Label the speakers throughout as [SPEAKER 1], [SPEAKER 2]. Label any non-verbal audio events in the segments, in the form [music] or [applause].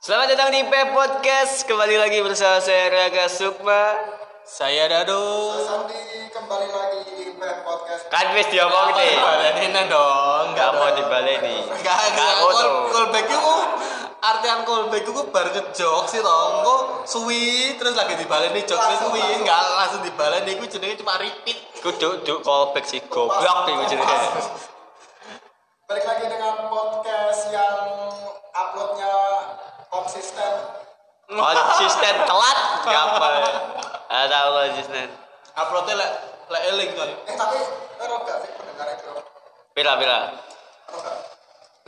[SPEAKER 1] Selamat datang di Pep Podcast. Kembali lagi bersama saya Raga Sukma.
[SPEAKER 2] Saya Dado.
[SPEAKER 3] Sandi kembali lagi di Pep Podcast.
[SPEAKER 1] Kan wis diomong nih.
[SPEAKER 2] Balenin dong.
[SPEAKER 1] Enggak mau dibaleni.
[SPEAKER 2] Enggak enggak.
[SPEAKER 1] mau
[SPEAKER 2] Call,
[SPEAKER 1] tuh.
[SPEAKER 2] callback itu artian callback itu baru ke jok sih tong. Kok suwi terus lagi dibaleni jok sih
[SPEAKER 3] Langsung,
[SPEAKER 2] suwi
[SPEAKER 3] langsung.
[SPEAKER 2] enggak langsung dibaleni iku jenenge cuma repeat.
[SPEAKER 1] Kudu duk callback si goblok iku jenenge.
[SPEAKER 3] Balik lagi dengan podcast yang uploadnya konsisten.
[SPEAKER 1] Konsisten telat kapal. Ada konsisten.
[SPEAKER 2] Uploadnya lek lek eling
[SPEAKER 1] Iya.
[SPEAKER 2] kan.
[SPEAKER 3] Eh tapi ero gak sih pendengar itu?
[SPEAKER 1] Pira-pira.
[SPEAKER 3] Ero gak?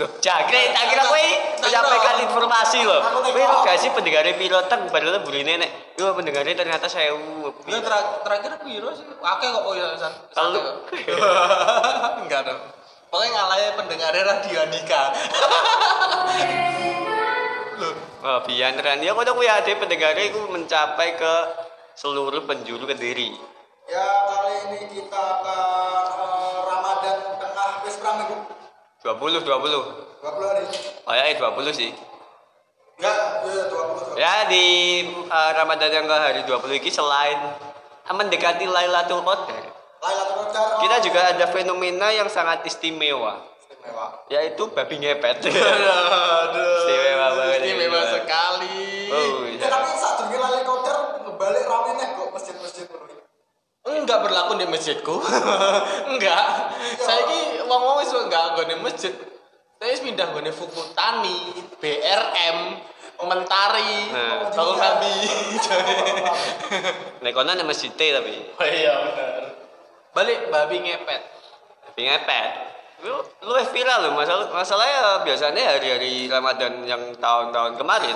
[SPEAKER 1] Loh, jangkrik, tak kira kowe menyampaikan informasi loh. Kowe tau gak sih pendengare pira teng padahal burine nek yo pendengare ternyata 1000.
[SPEAKER 2] Lu terakhir terakhir piro sih? Akeh kok oh ya san.
[SPEAKER 1] Telu.
[SPEAKER 2] Sate kok. [laughs] Enggak dong. Pokoknya ngalahin pendengarnya Radio Andika. Loh,
[SPEAKER 1] Oh, Bian Rani, aku tuh ya ada pendengarnya itu mencapai ke seluruh penjuru kediri.
[SPEAKER 3] Ya kali ini kita akan eh, Ramadan tengah wis perang minggu
[SPEAKER 1] 20, 20.
[SPEAKER 3] 20 hari.
[SPEAKER 1] Kayaknya 20 eh, sih.
[SPEAKER 3] Enggak, ya 20 20.
[SPEAKER 1] Ya di eh, Ramadan yang ke hari 20 ini selain mendekati Lailatul Qadar,
[SPEAKER 3] Lailatul Qadar. oh,
[SPEAKER 1] kita juga ada fenomena yang sangat istimewa,
[SPEAKER 3] istimewa.
[SPEAKER 1] yaitu babi ngepet. [laughs]
[SPEAKER 2] Aduh,
[SPEAKER 1] [laughs] Istimewa banget ini,
[SPEAKER 2] Istimewa
[SPEAKER 1] Bang.
[SPEAKER 2] sekali.
[SPEAKER 1] oh, iya.
[SPEAKER 3] Ya, tapi saat dulu Lailatul Qadar kebalik rame nih kok masjid-masjid dulu.
[SPEAKER 2] Enggak berlaku di masjidku. [laughs] enggak. Saya ki wong-wong wis enggak nggone masjid. Saya wis pindah nggone Fukutani, BRM, Mentari,
[SPEAKER 1] Nah.
[SPEAKER 2] Bangun Rambi.
[SPEAKER 1] Nek kono nek masjid e, tapi
[SPEAKER 2] Oh iya benar. Balik babi ngepet.
[SPEAKER 1] babi ngepet. Lu lu eh viral loh masalah masalahnya eh, biasanya hari-hari Ramadan yang tahun-tahun kemarin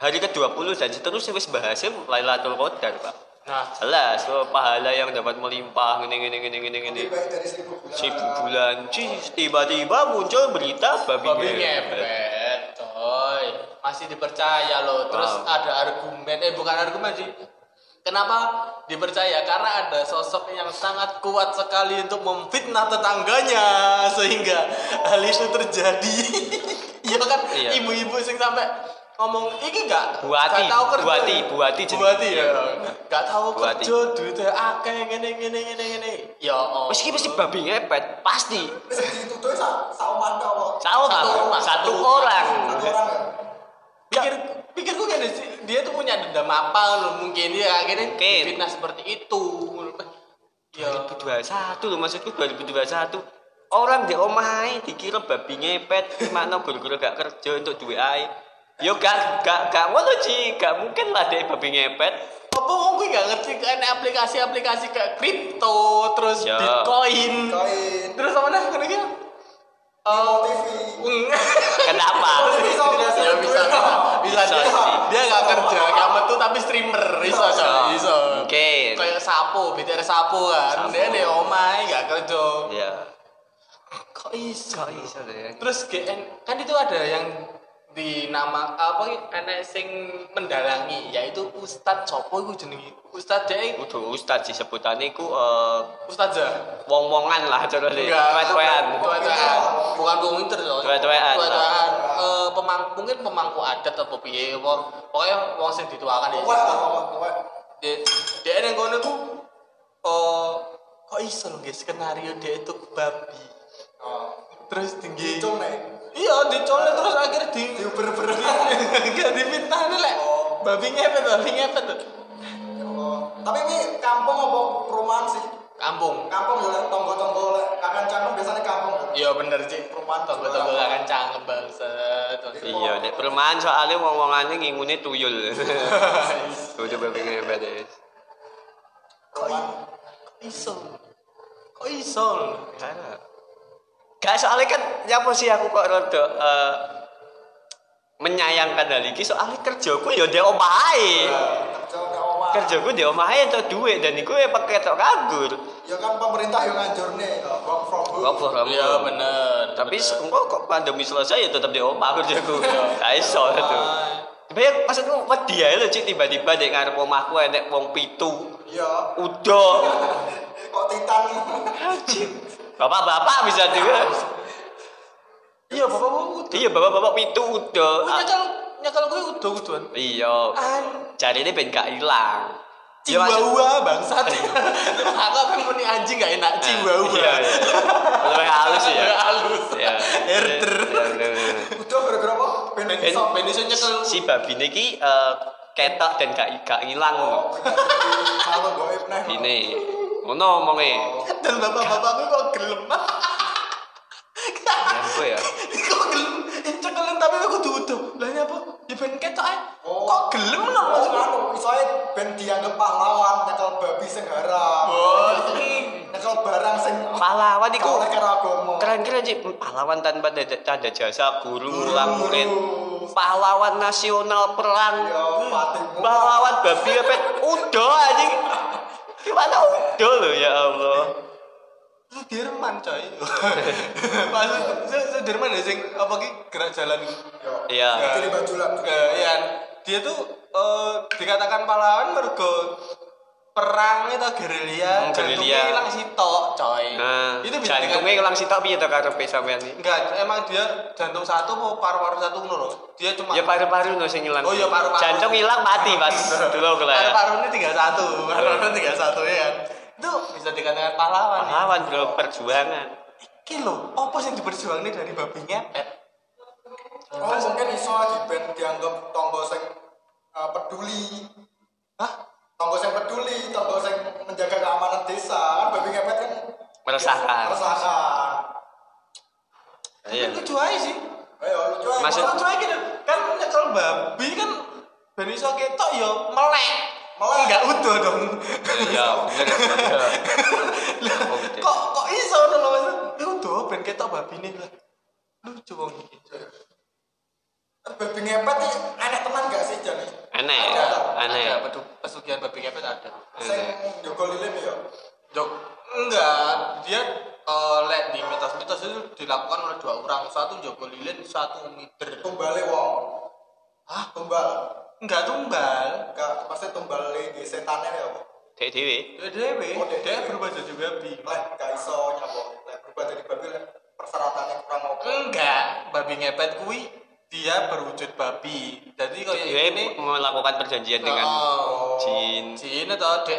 [SPEAKER 1] hari ke-20 dan seterusnya wis bahasnya Lailatul Qadar, Pak.
[SPEAKER 2] Nah,
[SPEAKER 1] Jelas, oh, pahala yang dapat melimpah ngene ngene ngene ngene ngene.
[SPEAKER 3] Lebih baik dari 1000 bulan.
[SPEAKER 1] Sibuk bulan, cis, tiba-tiba muncul berita babi,
[SPEAKER 2] babi
[SPEAKER 1] ngepet.
[SPEAKER 2] ngepet, coy. Masih dipercaya loh. Terus
[SPEAKER 1] Wow.
[SPEAKER 2] ada argumen, eh bukan argumen sih. Kenapa dipercaya? Karena ada sosok yang sangat kuat sekali untuk memfitnah tetangganya sehingga hal itu terjadi. [laughs] Iya kan?
[SPEAKER 1] Iya.
[SPEAKER 2] Ibu-ibu sing sampai ngomong iki gak
[SPEAKER 1] Buati,
[SPEAKER 2] gak tahu kerja.
[SPEAKER 1] buati, buati jenenge. Iya.
[SPEAKER 2] buati ya. Gak tahu
[SPEAKER 1] Buati.
[SPEAKER 2] kerja duitnya akeh ngene ngene ngene ngene. Ya Allah.
[SPEAKER 1] Meski pasti babi ngepet, pasti.
[SPEAKER 3] Segitu tuh sa sauman kok.
[SPEAKER 1] Tahu nggak?
[SPEAKER 2] Satu
[SPEAKER 1] Satu,
[SPEAKER 2] rumah, satu rumah.
[SPEAKER 1] orang.
[SPEAKER 3] Satu orang ya.
[SPEAKER 2] pikir pikirku gini sih dia tuh punya dendam apa loh mungkin dia akhirnya
[SPEAKER 1] Mungkin. gitu.
[SPEAKER 2] fitnah seperti itu ya
[SPEAKER 1] 2021 loh maksudku 2021. Orang di omahe dikira babi ngepet, makna guru-guru gak kerja untuk duwe ae. Yo gak gak gak ngono Ji, gak mungkin lah dek babi ngepet.
[SPEAKER 2] apa kok gue nggak ngerti kan aplikasi-aplikasi kayak kripto terus
[SPEAKER 1] Ya.
[SPEAKER 2] bitcoin
[SPEAKER 3] Koin.
[SPEAKER 2] terus apa nih kenapa
[SPEAKER 3] Nemo TV.
[SPEAKER 1] Kenapa?
[SPEAKER 3] Bisa, bisa.
[SPEAKER 2] Ya, Eh, bisa, bisa, bisa,
[SPEAKER 1] Bisa
[SPEAKER 2] dia,
[SPEAKER 1] sih.
[SPEAKER 2] dia gak kerja, gak metu tapi streamer, bisa, bisa, bisa.
[SPEAKER 1] Mungkin.
[SPEAKER 2] Kayak sapo, BTR sapo kan, dia
[SPEAKER 1] Sapo.
[SPEAKER 2] deh, omai, gak kerja.
[SPEAKER 1] Ya.
[SPEAKER 2] Kok iso? ya?
[SPEAKER 1] Kok iso ya? deh?
[SPEAKER 2] Terus GN kan itu ada yang di nama apa ki, enek sing mendalangi yaitu Ustadz Sopo itu jenenge Ustadz Jai
[SPEAKER 1] Kudu ustaz sih sebutane iku eh,
[SPEAKER 2] Ustadz Ja
[SPEAKER 1] wong-wongan lah contohnya.
[SPEAKER 2] tuan
[SPEAKER 1] Tuwet-tuwetan.
[SPEAKER 2] tuan bukan wong winter loh
[SPEAKER 1] Tuwet-tuwetan.
[SPEAKER 2] tuan eh pemang mungkin pemangku adat apa piye wong pokoknya wong sing dituakan ya
[SPEAKER 3] Kuat lah ngomong kuat.
[SPEAKER 2] dia dia yang kono ku eh kok iso lho nggih skenario dia itu babi terus tinggi
[SPEAKER 3] Hitung nih.
[SPEAKER 2] iya dicolek terus akhirnya di
[SPEAKER 3] Diuber-uber.
[SPEAKER 2] gak diminta nih lek babi ngepet babi ngepet tuh
[SPEAKER 3] Ya Allah. Tapi ini kampung apa perumahan sih?
[SPEAKER 2] kampung
[SPEAKER 3] Kampung ya, lek tonggo-tonggo lek kanan canggung biasanya kampung. kan?
[SPEAKER 2] iya bener cik perumahan tuh gue tuh gue akan cangkem bangset
[SPEAKER 1] Iya, nek perumahan soalnya wong-wongane ngingune tuyul. Kudu babi ngepet. ya.
[SPEAKER 3] Perumahan.
[SPEAKER 2] Kok iso kok iso lho?
[SPEAKER 1] Karena Gak soalnya kan nyapa sih aku kok rada eh, menyayangkan hal ini soalnya kerjaku ya dia omahe.
[SPEAKER 3] Kerja nang omah.
[SPEAKER 1] Kerjaku di omahe entuk duit dan iku ya pakai tok kabur.
[SPEAKER 3] Ya kan pemerintah yang nganjur nih, work from
[SPEAKER 1] Kok
[SPEAKER 3] home.
[SPEAKER 1] from
[SPEAKER 2] iya
[SPEAKER 1] home.
[SPEAKER 2] bener
[SPEAKER 1] Tapi se- engko kok pandemi selesai ya tetap di omah kerjaku.
[SPEAKER 2] Iya.
[SPEAKER 1] Gak iso itu. Tapi maksudku wedi ae lho Cik, tiba-tiba di ngarep omahku enek wong pitu.
[SPEAKER 3] Iya.
[SPEAKER 1] Udah.
[SPEAKER 3] Kok titan?
[SPEAKER 1] Cik. Bapak-bapak bisa juga.
[SPEAKER 2] iya bapak bapak udah
[SPEAKER 1] Iya, bapak-bapak pitu udah.
[SPEAKER 2] punya kan nyekel gue udah udahan
[SPEAKER 1] Iya. Cari ini ben gak hilang. Ya, maksud-
[SPEAKER 2] Cibawa bangsat. [laughs] Aku apa yang muni anjing gak enak Cibawa.
[SPEAKER 1] Iya, iya. Lebih halus ya.
[SPEAKER 2] Halus.
[SPEAKER 1] Iya.
[SPEAKER 2] Herder.
[SPEAKER 1] Iya, bener, bener.
[SPEAKER 3] Udah berapa? Ben
[SPEAKER 1] Ben-
[SPEAKER 3] iso.
[SPEAKER 2] Ben iso nyekel.
[SPEAKER 1] Si babi niki eh, ketok dan gak gak hilang ngono.
[SPEAKER 3] Kalau goib neh.
[SPEAKER 1] Ini ngono omonge.
[SPEAKER 2] Dan bapak-bapak gue kok gelem. [laughs]
[SPEAKER 1] Jambu ya.
[SPEAKER 2] Kok gelem? Eh, Cekelen tapi aku kudu udah. Lah ini apa? Ya ben ketok ae.
[SPEAKER 3] Oh.
[SPEAKER 2] Kok gelem no
[SPEAKER 3] Terus
[SPEAKER 2] maksudku?
[SPEAKER 3] anu, isoe ben dianggap pahlawan nyekel babi sing haram.
[SPEAKER 1] Oh,
[SPEAKER 2] Bos.
[SPEAKER 3] Nyekel barang sing
[SPEAKER 1] Pahlawan iku
[SPEAKER 3] oleh karo agama.
[SPEAKER 1] keren-keren sih pahlawan tanpa dada- tanda jasa guru ulang murid pahlawan nasional perang
[SPEAKER 3] Yo patimu.
[SPEAKER 1] pahlawan babi ngepet udah anjing gimana udah lo ya Allah
[SPEAKER 2] Sudirman coy. [laughs] Maksud Su- Sudirman ya sing apa ki gerak jalan ki?
[SPEAKER 3] Yo.
[SPEAKER 1] Iya.
[SPEAKER 3] Jadi Ya, baju lah.
[SPEAKER 2] Eh, iya. dia tuh eh, dikatakan pahlawan mergo perang itu gerilya,
[SPEAKER 1] Hmm, gerilya.
[SPEAKER 2] jantungnya hilang sitok, coy.
[SPEAKER 1] nah
[SPEAKER 2] itu bisa
[SPEAKER 1] jantungnya
[SPEAKER 2] dengan-
[SPEAKER 1] ulang sitok piye to karepe sampean iki
[SPEAKER 2] enggak, emang dia jantung satu mau paru-paru satu ngono loh. Dia cuma
[SPEAKER 1] ya paru-paru no sing ilang
[SPEAKER 2] Oh, ya paru-paru.
[SPEAKER 1] jantung hilang mati
[SPEAKER 2] [laughs]
[SPEAKER 1] pas dulu kula ya
[SPEAKER 2] paru-parunya tinggal satu, paru-parunya tinggal satu ya kan. Itu bisa dikatakan pahlawan. ya.
[SPEAKER 1] pahlawan bro perjuangan
[SPEAKER 2] Iki lho, apa sih diperjuangin dari babi
[SPEAKER 1] Eh,
[SPEAKER 2] ngepet?
[SPEAKER 3] Oh mungkin iso di ben dianggap tonggo sing eh, peduli.
[SPEAKER 2] Hah?
[SPEAKER 3] Tonggo sing peduli, tonggo sing menjaga keamanan desa. Kan babi ngepet kan
[SPEAKER 1] meresahkan
[SPEAKER 3] meresahkan.
[SPEAKER 1] iya
[SPEAKER 2] Itu lucu aja sih.
[SPEAKER 3] Ayo lucu ae.
[SPEAKER 1] Maksud-
[SPEAKER 2] Maksud cuek gitu kan nyekel babi kan ben iso ketok ya melek.
[SPEAKER 3] Melek.
[SPEAKER 2] enggak utuh dong.
[SPEAKER 1] iya bener
[SPEAKER 2] Lah,
[SPEAKER 1] Oh, gitu.
[SPEAKER 2] kok kok iso ngono lho Mas? Ya udah ben ketok babine lah. Lucu wong iki.
[SPEAKER 3] Kan babi ngepet iki enak teman gak sih jane?
[SPEAKER 1] aneh aneh
[SPEAKER 2] Ada pedu- pesugihan babi ngepet ada.
[SPEAKER 3] Sing jogo lilin ya.
[SPEAKER 2] Jok enggak dia eh, lek di mitos-mitos itu dilakukan oleh dua orang satu jogo lilin satu mider
[SPEAKER 3] Tumbale wong.
[SPEAKER 2] Hah?
[SPEAKER 3] Tumbal.
[SPEAKER 2] enggak tumbal
[SPEAKER 3] Gak pasti tumbale di setane ya. apa?
[SPEAKER 1] dek dewe
[SPEAKER 2] dia dewe
[SPEAKER 3] Oh, dewe.
[SPEAKER 2] dia berubah jadi babi
[SPEAKER 3] Lek gak iso nyambung. Lek berubah jadi babi lek persyaratannya kurang oke.
[SPEAKER 2] Enggak, babi ngepet kui dia berwujud babi. Jadi kayak
[SPEAKER 1] Dia
[SPEAKER 2] Iya, ini
[SPEAKER 1] melakukan perjanjian dengan
[SPEAKER 2] oh,
[SPEAKER 1] jin
[SPEAKER 2] jin atau de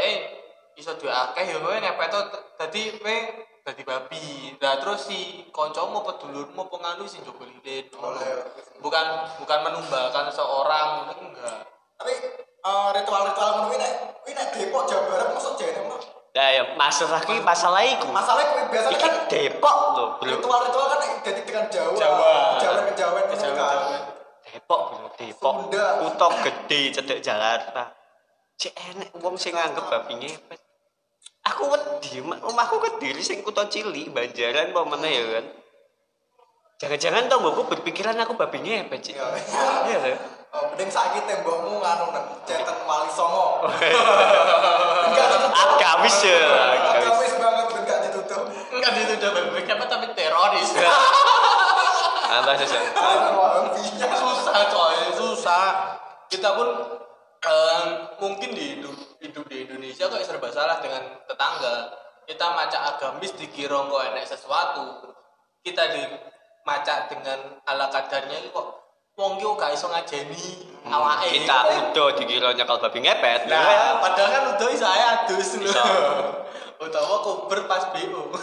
[SPEAKER 2] iso doake ya kowe ngepet tuh dadi kowe dadi babi. Nah terus si kancamu pedulurmu penganu sing jogo lilin.
[SPEAKER 3] Boleh.
[SPEAKER 2] Bukan bukan menumbalkan seorang enggak.
[SPEAKER 3] Tapi eh, ritual-ritual ngono kuwi nek kuwi nek Depok Jawa Barat masuk jane mah.
[SPEAKER 1] Nah, ya, masalah ini masalah itu.
[SPEAKER 3] Masalahnya kuwi biasanya
[SPEAKER 1] Iki
[SPEAKER 3] kan
[SPEAKER 1] Depok loh, bro.
[SPEAKER 3] ritual-ritual kan identik dengan Jawa.
[SPEAKER 2] Jawa.
[SPEAKER 3] Jawa kejawen itu kan.
[SPEAKER 2] Kejawen-kejawen.
[SPEAKER 1] Depok, bro. Depok.
[SPEAKER 3] Sunda.
[SPEAKER 1] Kutha gede cedek Jakarta. Cek enek wong sing nganggep babi ngepet. Aku wedi, ma- omahku kediri sing kutha cilik, Banjaran apa meneh ya kan. Jangan-jangan tonggoku berpikiran aku babi ngepet, Cik.
[SPEAKER 3] Iya.
[SPEAKER 1] Iya lho.
[SPEAKER 3] Oh, mending saiki tembokmu nganu nang cetek
[SPEAKER 1] [laughs] Oh,
[SPEAKER 3] wali songo.
[SPEAKER 1] iya.
[SPEAKER 3] Enggak ditutup.
[SPEAKER 1] Agamis ya, agamis.
[SPEAKER 3] Agamis banget enggak ditutup.
[SPEAKER 2] Enggak itu udah babi ngepet tapi teroris. [laughs]
[SPEAKER 1] Apa sih? Sak?
[SPEAKER 3] Ada wahabinya.
[SPEAKER 2] susah coy susah kita pun em, mungkin di hidup, hidup di Indonesia kok serba salah dengan tetangga kita maca agamis dikira kok enak sesuatu kita di maca dengan ala kadarnya ini kok wong ki gak iso ngajeni awake
[SPEAKER 1] Hmm, Kita udah dikira nyakal babi ngepet. ya.
[SPEAKER 2] nah padahal kan udah iso ae adus lho
[SPEAKER 1] Iso.
[SPEAKER 2] [laughs] utawa kuber pas BO [laughs]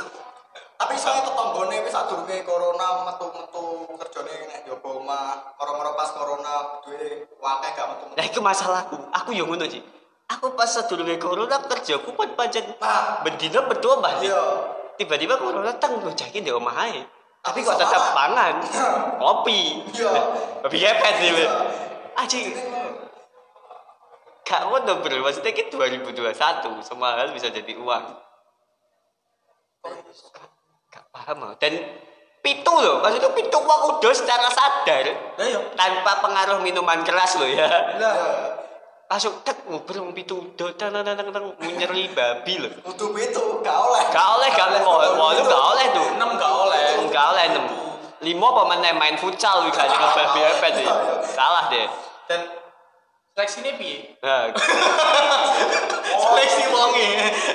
[SPEAKER 3] Tapi saya tetanggone wis sadurunge corona metu-metu kerjane nek njaba omah, moro-moro pas corona duwe wakeh gak metu-metu.
[SPEAKER 1] Nah, itu masalahku. Aku yang ngono sih. Aku pas sedurunge corona kerjaku pun pancen
[SPEAKER 3] Nah.
[SPEAKER 1] bendina berdua mbah.
[SPEAKER 3] Iya.
[SPEAKER 1] Tiba-tiba corona teng lho jake ndek omah ae. Tapi
[SPEAKER 3] Tapi
[SPEAKER 1] kok
[SPEAKER 3] sama.
[SPEAKER 1] tetap pangan, kopi.
[SPEAKER 3] Iya.
[SPEAKER 1] Babi ngepet sih. Mbak. Aji, gak ngono bro. Maksudnya ki 2021 semua hal bisa jadi uang. Gak paham aku. Dan pitu loh, maksudnya pitu uang udah secara sadar
[SPEAKER 2] Lah
[SPEAKER 1] iya.
[SPEAKER 2] yo.
[SPEAKER 1] tanpa pengaruh minuman keras loh ya
[SPEAKER 2] Lah.
[SPEAKER 1] langsung tek oh, ngobrol ngompi tudul tang tang tang tang tang menyeri babi loh
[SPEAKER 3] Kudu itu gak oleh.
[SPEAKER 1] gak oleh gak oleh oh, oh, lu gak oleh tuh
[SPEAKER 2] enam gak oleh
[SPEAKER 1] gak oleh enam lima pemain main futsal wih gak nyekel babi apa sih salah deh
[SPEAKER 2] dan seleksi ini piye
[SPEAKER 1] nah,
[SPEAKER 2] seleksi wonge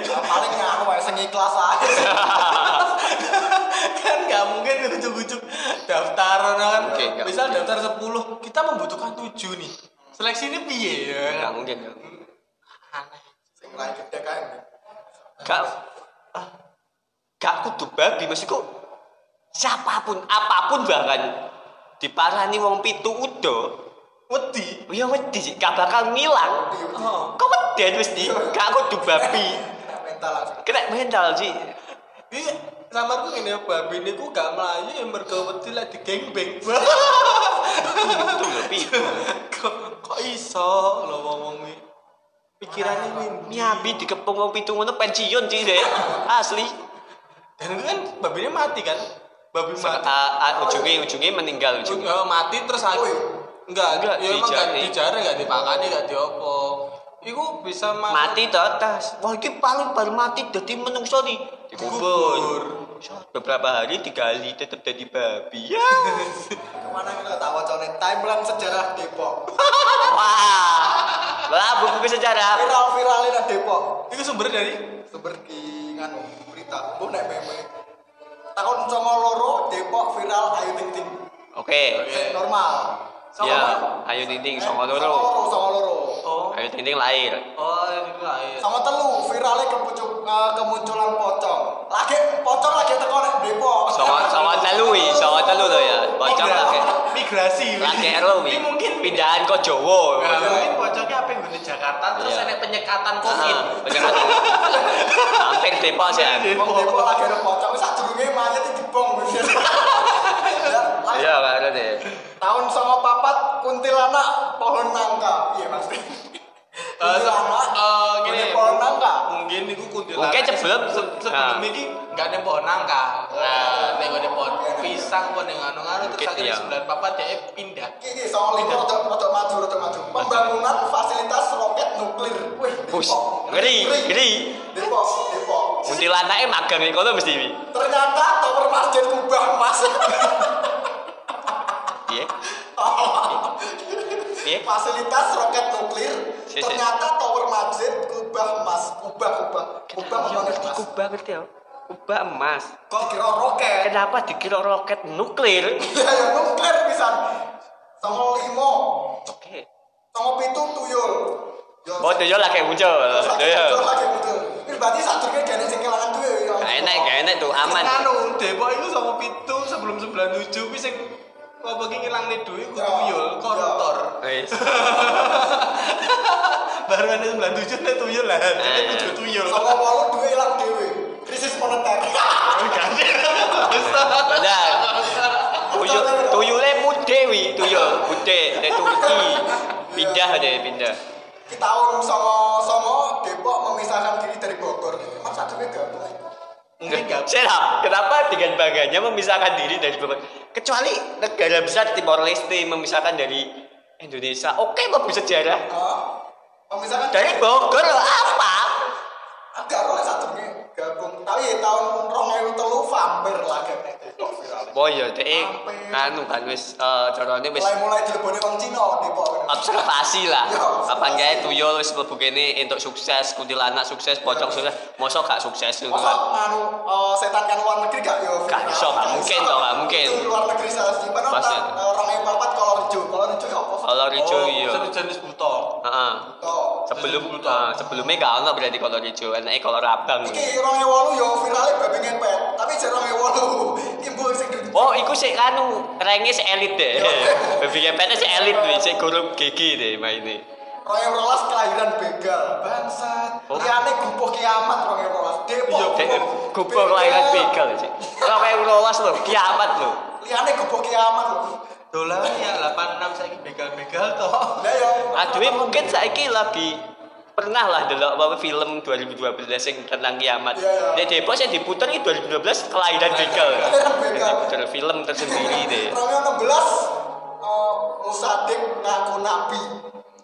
[SPEAKER 3] Nah, Paling nganu wae sing ikhlas ae.
[SPEAKER 2] kan nggak mungkin ujuk-ujuk daftar daftar no kan.
[SPEAKER 1] Oke, nggak
[SPEAKER 2] Misal
[SPEAKER 1] mungkin.
[SPEAKER 2] daftar 10, kita membutuhkan 7 nih. Seleksi ini piye ya?
[SPEAKER 1] nggak mungkin ya.
[SPEAKER 2] Aneh.
[SPEAKER 3] Sing lain gede kan.
[SPEAKER 1] Gak, ah, gak kudu babi maksudku. Siapapun, apapun bahkan diparani wong pitu udo,
[SPEAKER 2] Wedi.
[SPEAKER 1] ya wedi sih, gak bakal ngilang.
[SPEAKER 2] Oh.
[SPEAKER 1] Kok weden mesti? Gak kudu babi.
[SPEAKER 3] Kena mental langsung.
[SPEAKER 1] Kena mental sih.
[SPEAKER 2] Iya, sama aku ini babi ini ku ya, gak melayu yang bergawati lah di gengbeng [laughs]
[SPEAKER 1] Pitu lho, pitu.
[SPEAKER 2] kok, kok iso lo ngomong ini pikirannya ini
[SPEAKER 1] Miabi dikepung wong pitu ngono pensiun sih deh. Asli.
[SPEAKER 2] dan itu kan babi ini mati kan babi
[SPEAKER 1] Sak-
[SPEAKER 2] mati
[SPEAKER 1] a- a- Ujungnya, ujungnya meninggal ujungnya.
[SPEAKER 2] Eh, mati terus lagi
[SPEAKER 3] Woi.
[SPEAKER 2] enggak,
[SPEAKER 1] Enggak,
[SPEAKER 2] ya emang gak
[SPEAKER 1] dijahit.
[SPEAKER 2] dijarah gak dipakani gak diopo Iku bisa makan
[SPEAKER 1] mati to atas wah iki paling baru mati dadi menungso nih
[SPEAKER 2] Dikubur.
[SPEAKER 1] dikubur beberapa hari digali tetep jadi babi ya
[SPEAKER 3] Kemana kita tak wacone timeline sejarah Depok.
[SPEAKER 1] wah lah buku sejarah
[SPEAKER 3] Viral-viralnya nang Depok.
[SPEAKER 2] Iku sumber dari
[SPEAKER 3] Sumber ki nganu berita. Bu nek meme. Tahun 2002 Depok viral Ayu Ting Ting.
[SPEAKER 1] oke
[SPEAKER 3] Sing normal.
[SPEAKER 1] ya ayo tinting sama loro
[SPEAKER 3] Songo songo loro.
[SPEAKER 2] oh
[SPEAKER 1] ayo tinting lahir
[SPEAKER 2] oh itu lah ya
[SPEAKER 3] Sama telu viralnya kemuncul, eh, kemunculan pocong. Lagi pocong lagi teko nek Depok. Iya.
[SPEAKER 1] sama sama telu i sama telu lo ya pocong
[SPEAKER 2] Migra-
[SPEAKER 1] lagi
[SPEAKER 2] migrasi
[SPEAKER 1] lagi ero
[SPEAKER 2] Ini mungkin
[SPEAKER 1] pindahan ke Jawa
[SPEAKER 2] Nah, mungkin pocongnya apa yang di Jakarta terus
[SPEAKER 1] Iya.
[SPEAKER 2] ada penyekatan
[SPEAKER 1] Ah,
[SPEAKER 2] covid.
[SPEAKER 1] penjahat. hampir ya. depok sih
[SPEAKER 3] Wong Depok lagi ada pocong sak durunge mayit dibong. Ya, lagi
[SPEAKER 1] iya gak ada deh
[SPEAKER 3] tahun sama papat kuntilanak pohon nangka iya mas [laughs] kuntilanak
[SPEAKER 2] eh,
[SPEAKER 3] gini
[SPEAKER 2] gini.
[SPEAKER 3] pohon nangka
[SPEAKER 2] [laughs] Mungkin niku kuntilanak.
[SPEAKER 1] Mungkin sebelum-
[SPEAKER 2] se-
[SPEAKER 1] Ah.
[SPEAKER 2] sebelum ini nggak ada pohon nangka. Nah, nego ada pohon pisang pohon yang anu-anu
[SPEAKER 1] Mungkin,
[SPEAKER 2] terus akhirnya
[SPEAKER 1] iya.
[SPEAKER 2] sembilan papat dia pindah.
[SPEAKER 3] gini soal lima rotok rotok maju rotok maju pembangunan fasilitas roket nuklir wih
[SPEAKER 1] Bus,
[SPEAKER 3] Depok.
[SPEAKER 1] ngeri, ngeri.
[SPEAKER 3] depok depok
[SPEAKER 1] Kuntilanaknya magang nih, kono mesti wi.
[SPEAKER 3] ternyata tower masjid kubah mas [laughs]
[SPEAKER 1] Iya, iya.
[SPEAKER 3] [laughs] fasilitas roket nuklir
[SPEAKER 1] Sih, sih.
[SPEAKER 3] ternyata tower masjid kubah mas kubah kubah kubah
[SPEAKER 1] Iya,
[SPEAKER 3] kubah
[SPEAKER 1] ngerti
[SPEAKER 3] mas
[SPEAKER 1] Kuba ngerti ya. Kuba emas.
[SPEAKER 3] kok kira roket [laughs]
[SPEAKER 1] Kenapa dikira roket nuklir?
[SPEAKER 3] ya ya nuklir pisan sama limo
[SPEAKER 1] Oke.
[SPEAKER 3] Tonggo pitu tuyul. Yo.
[SPEAKER 1] Oh, tuyul lagi muncul.
[SPEAKER 3] Satu tuyul
[SPEAKER 1] Tuyul.
[SPEAKER 3] lagi betul. Ini berarti sadurunge dene sing kelangan tuyul yo.
[SPEAKER 1] Gak enak, gak enak tuh, aman.
[SPEAKER 2] Terus Anu Depok itu sama pitu sebelum sembilan tujuh wis sing apa ki ngilang nih duit kudu
[SPEAKER 3] Iya.
[SPEAKER 2] tuyul koruptor.
[SPEAKER 1] Wis.
[SPEAKER 2] Baru ada sembilan tujuh nih tuyul lah. Jadi
[SPEAKER 1] Eh.
[SPEAKER 2] tujuh tuyul. [laughs]
[SPEAKER 3] Saka wolu duwe ilang dhewe. Krisis moneter. [laughs]
[SPEAKER 1] Padahal. Tuyul, tuyule mude wi, tuyul, mude dari Turki. Pindah deh, pindah.
[SPEAKER 3] Di tahun songo-songo Depok memisahkan diri dari Bogor. Emang sadurunge gabung ae.
[SPEAKER 2] Mungkin nggak
[SPEAKER 1] Saya kenapa dengan bangganya memisahkan diri dari Bogor? Kecuali negara besar Timor Leste memisahkan dari Indonesia. Oke, mau sejarah.
[SPEAKER 3] Hah? Memisahkan
[SPEAKER 1] Dari Bogor loh, apa?
[SPEAKER 3] Agak oleh sadurunge gabung. Tapi ya tahun 2003 vampir lagi nek Depok viral.
[SPEAKER 1] Oh iya, deh.
[SPEAKER 3] Sampai-
[SPEAKER 1] Anu kan wis eh carane wis
[SPEAKER 3] Mulai-mulai dilebone wong Cina Depok.
[SPEAKER 1] observasi lah.
[SPEAKER 3] Ya, observasi.
[SPEAKER 1] Apa enggak tuyul wis mlebu kene entuk sukses, kuntilanak sukses, pocong sukses. Mosok gak sukses itu
[SPEAKER 3] Masa
[SPEAKER 1] kan.
[SPEAKER 3] nganu eh, setan kan luar negeri gak yo?
[SPEAKER 1] Gak iso, gak mungkin toh, gak mungkin.
[SPEAKER 3] Itu luar negeri salah sih. Padahal
[SPEAKER 1] Pasti.
[SPEAKER 3] orang- eh, orang yang papat kalau rejo, kalau rejo ya apa?
[SPEAKER 1] Kolor ijo iya.
[SPEAKER 2] satu jenis buto.
[SPEAKER 1] Heeh.
[SPEAKER 3] Toh.
[SPEAKER 1] Sebelum
[SPEAKER 2] Sebelum buta.
[SPEAKER 1] eh, sebelumnya gak ono berarti kolor ijo, enake kolor abang.
[SPEAKER 3] Iki orang yang walu yo viralnya babi ngepet, tapi jadi orang yang walu [laughs] ibu sing di-
[SPEAKER 1] Oh, iku sik kanu renge sik elit deh. Babi ngepetnya sik elit nih, sik guru gigi deh maine.
[SPEAKER 3] orang yang rolas kelahiran begal, bangsat.
[SPEAKER 1] Oh. Iya,
[SPEAKER 3] Liane gupuh kiamat orang yang rolas. Depok.
[SPEAKER 1] Dek, Gupo
[SPEAKER 3] Iya.
[SPEAKER 1] kelahiran begal sih. Ora wae lolos lho, kiamat lho.
[SPEAKER 3] Liane gupuh kiamat lho.
[SPEAKER 2] Dolar ya 86 saya begal-begal toh.
[SPEAKER 3] Lah ya, yo.
[SPEAKER 1] Aduh, mungkin saiki lagi pernah lah delok apa film 2012 yang tentang kiamat.
[SPEAKER 3] Iya, iya.
[SPEAKER 1] Di Depok yang diputer itu 2012 kelahiran begal.
[SPEAKER 3] Kelahiran begal.
[SPEAKER 1] Diputer film tersendiri deh.
[SPEAKER 3] Orang yang 16 eh, Musadik ngaku nabi.
[SPEAKER 1] Wah,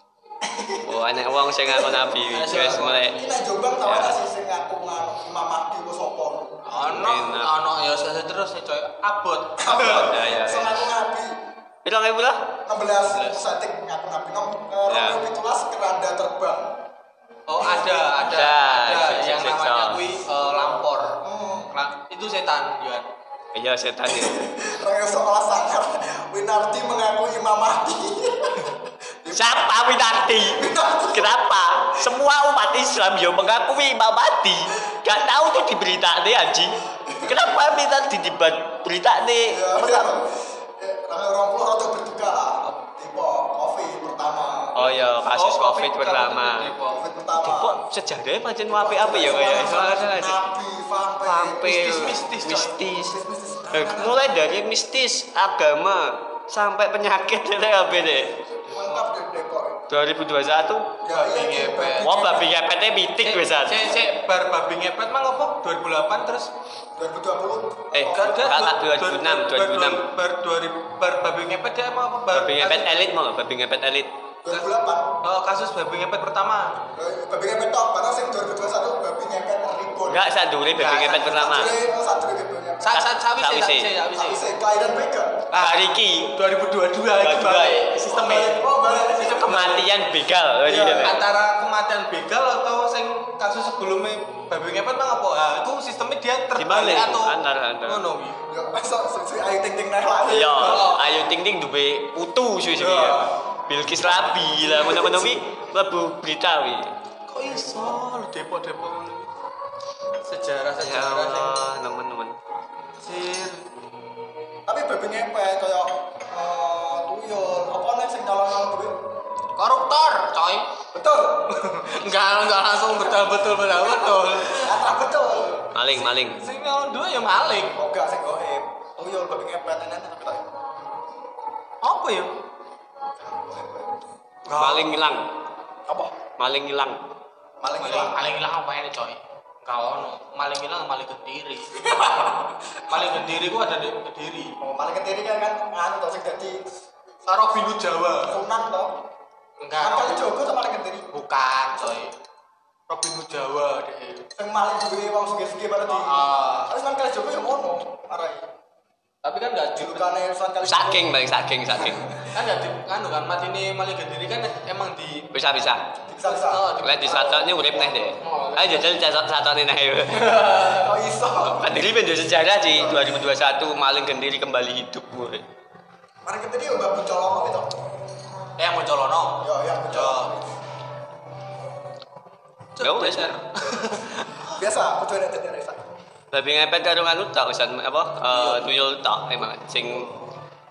[SPEAKER 1] Oh, anak wong sing ngaku nabi wis mulai.
[SPEAKER 3] Ini nek Jombang tau
[SPEAKER 1] Ya.
[SPEAKER 3] gak sih sing ngaku ngaku Imam Mahdi ku sapa?
[SPEAKER 2] Ono
[SPEAKER 1] Enak.
[SPEAKER 2] ono ya saya terus nih coy abot.
[SPEAKER 1] Ya ya. ya.
[SPEAKER 3] Selaku nabi
[SPEAKER 1] Piro kae pula?
[SPEAKER 3] 16 satik ngaku nabi nom
[SPEAKER 1] Ya.
[SPEAKER 3] Romi pitulas keranda terbang.
[SPEAKER 2] Oh ada ada
[SPEAKER 1] Ada,
[SPEAKER 2] ada
[SPEAKER 1] sik,
[SPEAKER 2] yang
[SPEAKER 1] sik, sik,
[SPEAKER 2] namanya
[SPEAKER 1] sik.
[SPEAKER 2] kui eh, lampor.
[SPEAKER 3] Oh,
[SPEAKER 2] Lah, Itu setan Yuan.
[SPEAKER 1] Iya setan ya.
[SPEAKER 3] Raya seolah sangar. Winarti mengaku imamati.
[SPEAKER 1] Siapa Winarti? Kenapa? Semua umat Islam yang mengakui Imam Mahdi gak tahu tuh di berita nih anjing. Kenapa Winarti di berita nih?
[SPEAKER 3] Ya, ya. Eh, Raya orang pulau rada berduka. Tipe covid pertama.
[SPEAKER 1] Oh ya kasus COVID pertama.
[SPEAKER 3] Covid pertama.
[SPEAKER 1] Kok sejarahnya macam apa apa ya kayak soalnya kan ada
[SPEAKER 3] Nabi, vampir.
[SPEAKER 1] vampir,
[SPEAKER 2] Mistis-mistis, coy.
[SPEAKER 1] mistis.
[SPEAKER 3] Mistis-mistis.
[SPEAKER 1] Eh, Mulai dari mistis, agama, sampai penyakit [laughs] dari apa deh.
[SPEAKER 3] Mantap deh
[SPEAKER 1] 2021
[SPEAKER 3] Depok. Ya,
[SPEAKER 2] Babi
[SPEAKER 3] iya, iya,
[SPEAKER 2] ngepet.
[SPEAKER 3] babi
[SPEAKER 1] Wah, babi
[SPEAKER 3] ngepet.
[SPEAKER 1] ngepetnya mitik Eh, bisa.
[SPEAKER 2] Cek, cek, bar babi ngepet mah ngopo? 2008 terus
[SPEAKER 3] 2020.
[SPEAKER 1] Eh,
[SPEAKER 3] Covid.
[SPEAKER 1] gak ada. Kakak
[SPEAKER 2] dua-
[SPEAKER 1] 2006,
[SPEAKER 2] dua- dua- Bar 2000 bar babi ngepet dia emang apa? Bar
[SPEAKER 1] Babi ngepet elit mau nggak? Babi ngepet elit.
[SPEAKER 3] 2008.
[SPEAKER 2] Oh, kasus babi ngepet pertama.
[SPEAKER 3] Eh, Babi ngepet tok, karena sing 2021 babi ngepet ribon.
[SPEAKER 1] Enggak, saat dulu babi
[SPEAKER 2] Nggak,
[SPEAKER 1] ngepet
[SPEAKER 2] saat-
[SPEAKER 1] pertama.
[SPEAKER 3] Satu babi ngepet.
[SPEAKER 2] Sa sa sawise,
[SPEAKER 1] Sawise.
[SPEAKER 2] sawise, sawise.
[SPEAKER 3] Tapi kelahiran Vega.
[SPEAKER 1] Bariki
[SPEAKER 2] 2022 itu
[SPEAKER 1] Dua-dua.
[SPEAKER 2] balik sistemnya.
[SPEAKER 3] Oh, balik.
[SPEAKER 2] Sistem
[SPEAKER 1] kematian begal. Jadi,
[SPEAKER 3] Iya.
[SPEAKER 1] Dek.
[SPEAKER 2] antara kematian begal atau sing kasus sebelumnya babi ngepet mah apa? Ah, itu sistemnya dia terbalik
[SPEAKER 1] Dibalik.
[SPEAKER 2] atau
[SPEAKER 1] Antara- antara.
[SPEAKER 2] Ngono, wi.
[SPEAKER 3] Ya, masa sing ayu ting-ting naik lagi.
[SPEAKER 1] Iya,
[SPEAKER 2] Oh.
[SPEAKER 1] ayo ting ting duwe putu sih sih.
[SPEAKER 3] Iya.
[SPEAKER 1] Bilkis Labi lah, mana-mana wi lebu berita wi.
[SPEAKER 2] Kok iso lu depok-depok ngono wi?
[SPEAKER 1] Ya
[SPEAKER 2] sejarah-sejarah sing
[SPEAKER 1] Allah, teman-teman.
[SPEAKER 2] sir.
[SPEAKER 3] Tapi babi ngepet kaya eh, tuyul, apa nih sing nyolong-nyolong duit?
[SPEAKER 2] Koruptor, coy.
[SPEAKER 3] Betul.
[SPEAKER 2] Enggak, enggak langsung betul-betul betul-betul.
[SPEAKER 3] Kata betul.
[SPEAKER 1] Maling, maling.
[SPEAKER 2] Sing ngomong dua ya maling.
[SPEAKER 3] Oh enggak sing goib. Tuyul babi ngepet enak tapi tak.
[SPEAKER 2] Apa ya?
[SPEAKER 1] Maling hilang,
[SPEAKER 3] Apa?
[SPEAKER 1] maling hilang.
[SPEAKER 2] Maling,
[SPEAKER 3] Maling hilang.
[SPEAKER 2] maling hilang apa ini coy? Enggak ono. Maling hilang maling
[SPEAKER 1] [laughs]
[SPEAKER 2] kediri. maling kediri gua ada di kediri.
[SPEAKER 3] Oh, maling ketiri kan kan anu to sing dadi
[SPEAKER 2] Karo binu Jawa.
[SPEAKER 3] sunan to.
[SPEAKER 2] Enggak.
[SPEAKER 1] Nah,
[SPEAKER 3] Kan kali
[SPEAKER 2] Robin-
[SPEAKER 3] jogo sama maling ketiri.
[SPEAKER 2] Bukan coy. Robin Hood Jawa deh.
[SPEAKER 3] Sing maling duwe wong sugih-sugih pada di.
[SPEAKER 2] Ah.
[SPEAKER 3] Terus kan kali jogo ya ngono. Arai.
[SPEAKER 2] Tapi kan enggak jul kan
[SPEAKER 3] Julukane Sunan kali.
[SPEAKER 1] Saking, bang, saking, saking.
[SPEAKER 2] enggak di kan kan mati ini maling kediri kan emang di
[SPEAKER 1] Bisa, bisa.
[SPEAKER 3] Bisa-bisa.
[SPEAKER 2] Oh,
[SPEAKER 1] Lek di satokne urip neh deh. Ayo jajal jajal satokne neh. [laughs] Kan
[SPEAKER 3] Oh iso.
[SPEAKER 1] Kendiri menjadi sejarah di 2021 maling kendiri kembali hidup. Ya woy.
[SPEAKER 3] Maling ketiri yo babu colong itu.
[SPEAKER 2] eh yang mau colono.
[SPEAKER 3] Yo ya
[SPEAKER 2] Yo.
[SPEAKER 3] betul.
[SPEAKER 1] Ya wes.
[SPEAKER 3] Biasa, kudu ada teori Sa.
[SPEAKER 1] Babi ngepet karo anu tak usan apa eh, tuyul tak emang sing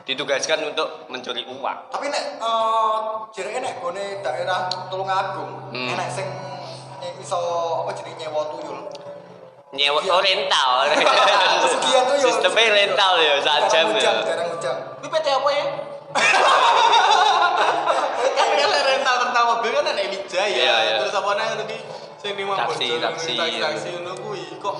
[SPEAKER 1] ditugaskan untuk mencuri uang.
[SPEAKER 3] Tapi nek eh jereke nek gone daerah Tulungagung,
[SPEAKER 1] Hmm.
[SPEAKER 3] enek sing eh, iso apa jenenge nyewa tuyul.
[SPEAKER 1] [laughs] Nyewa
[SPEAKER 3] Iya.
[SPEAKER 1] oh, [laughs] rental.
[SPEAKER 3] Pesugihan tuyul.
[SPEAKER 1] Sistemnya rental ya saat jam ya.
[SPEAKER 3] Jarang hujan, jarang hujan.
[SPEAKER 2] Tapi PT apa ya? kan kan rental rental mobil kan ada Wijaya
[SPEAKER 1] Iya, iya.
[SPEAKER 2] terus apa nang tadi sing di Mampojok,
[SPEAKER 1] Taksi,
[SPEAKER 2] yang di
[SPEAKER 1] taksi.
[SPEAKER 2] taksi taksi ngono kuwi kok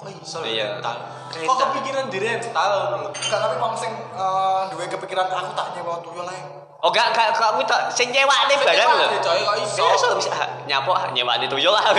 [SPEAKER 2] kok iso
[SPEAKER 1] Iya.
[SPEAKER 2] rental kok
[SPEAKER 1] Rental.
[SPEAKER 2] kepikiran di rental ngono
[SPEAKER 3] Enggak tapi wong sing eh, duwe kepikiran aku tak nyewa tuyul ae.
[SPEAKER 1] Oh gak gak kamu tak sing nyewakne barang lho.
[SPEAKER 2] Rental, coy kok iso
[SPEAKER 1] Bisa bisa nyapo ah, nyewakne tuyul lah.
[SPEAKER 2] Oh.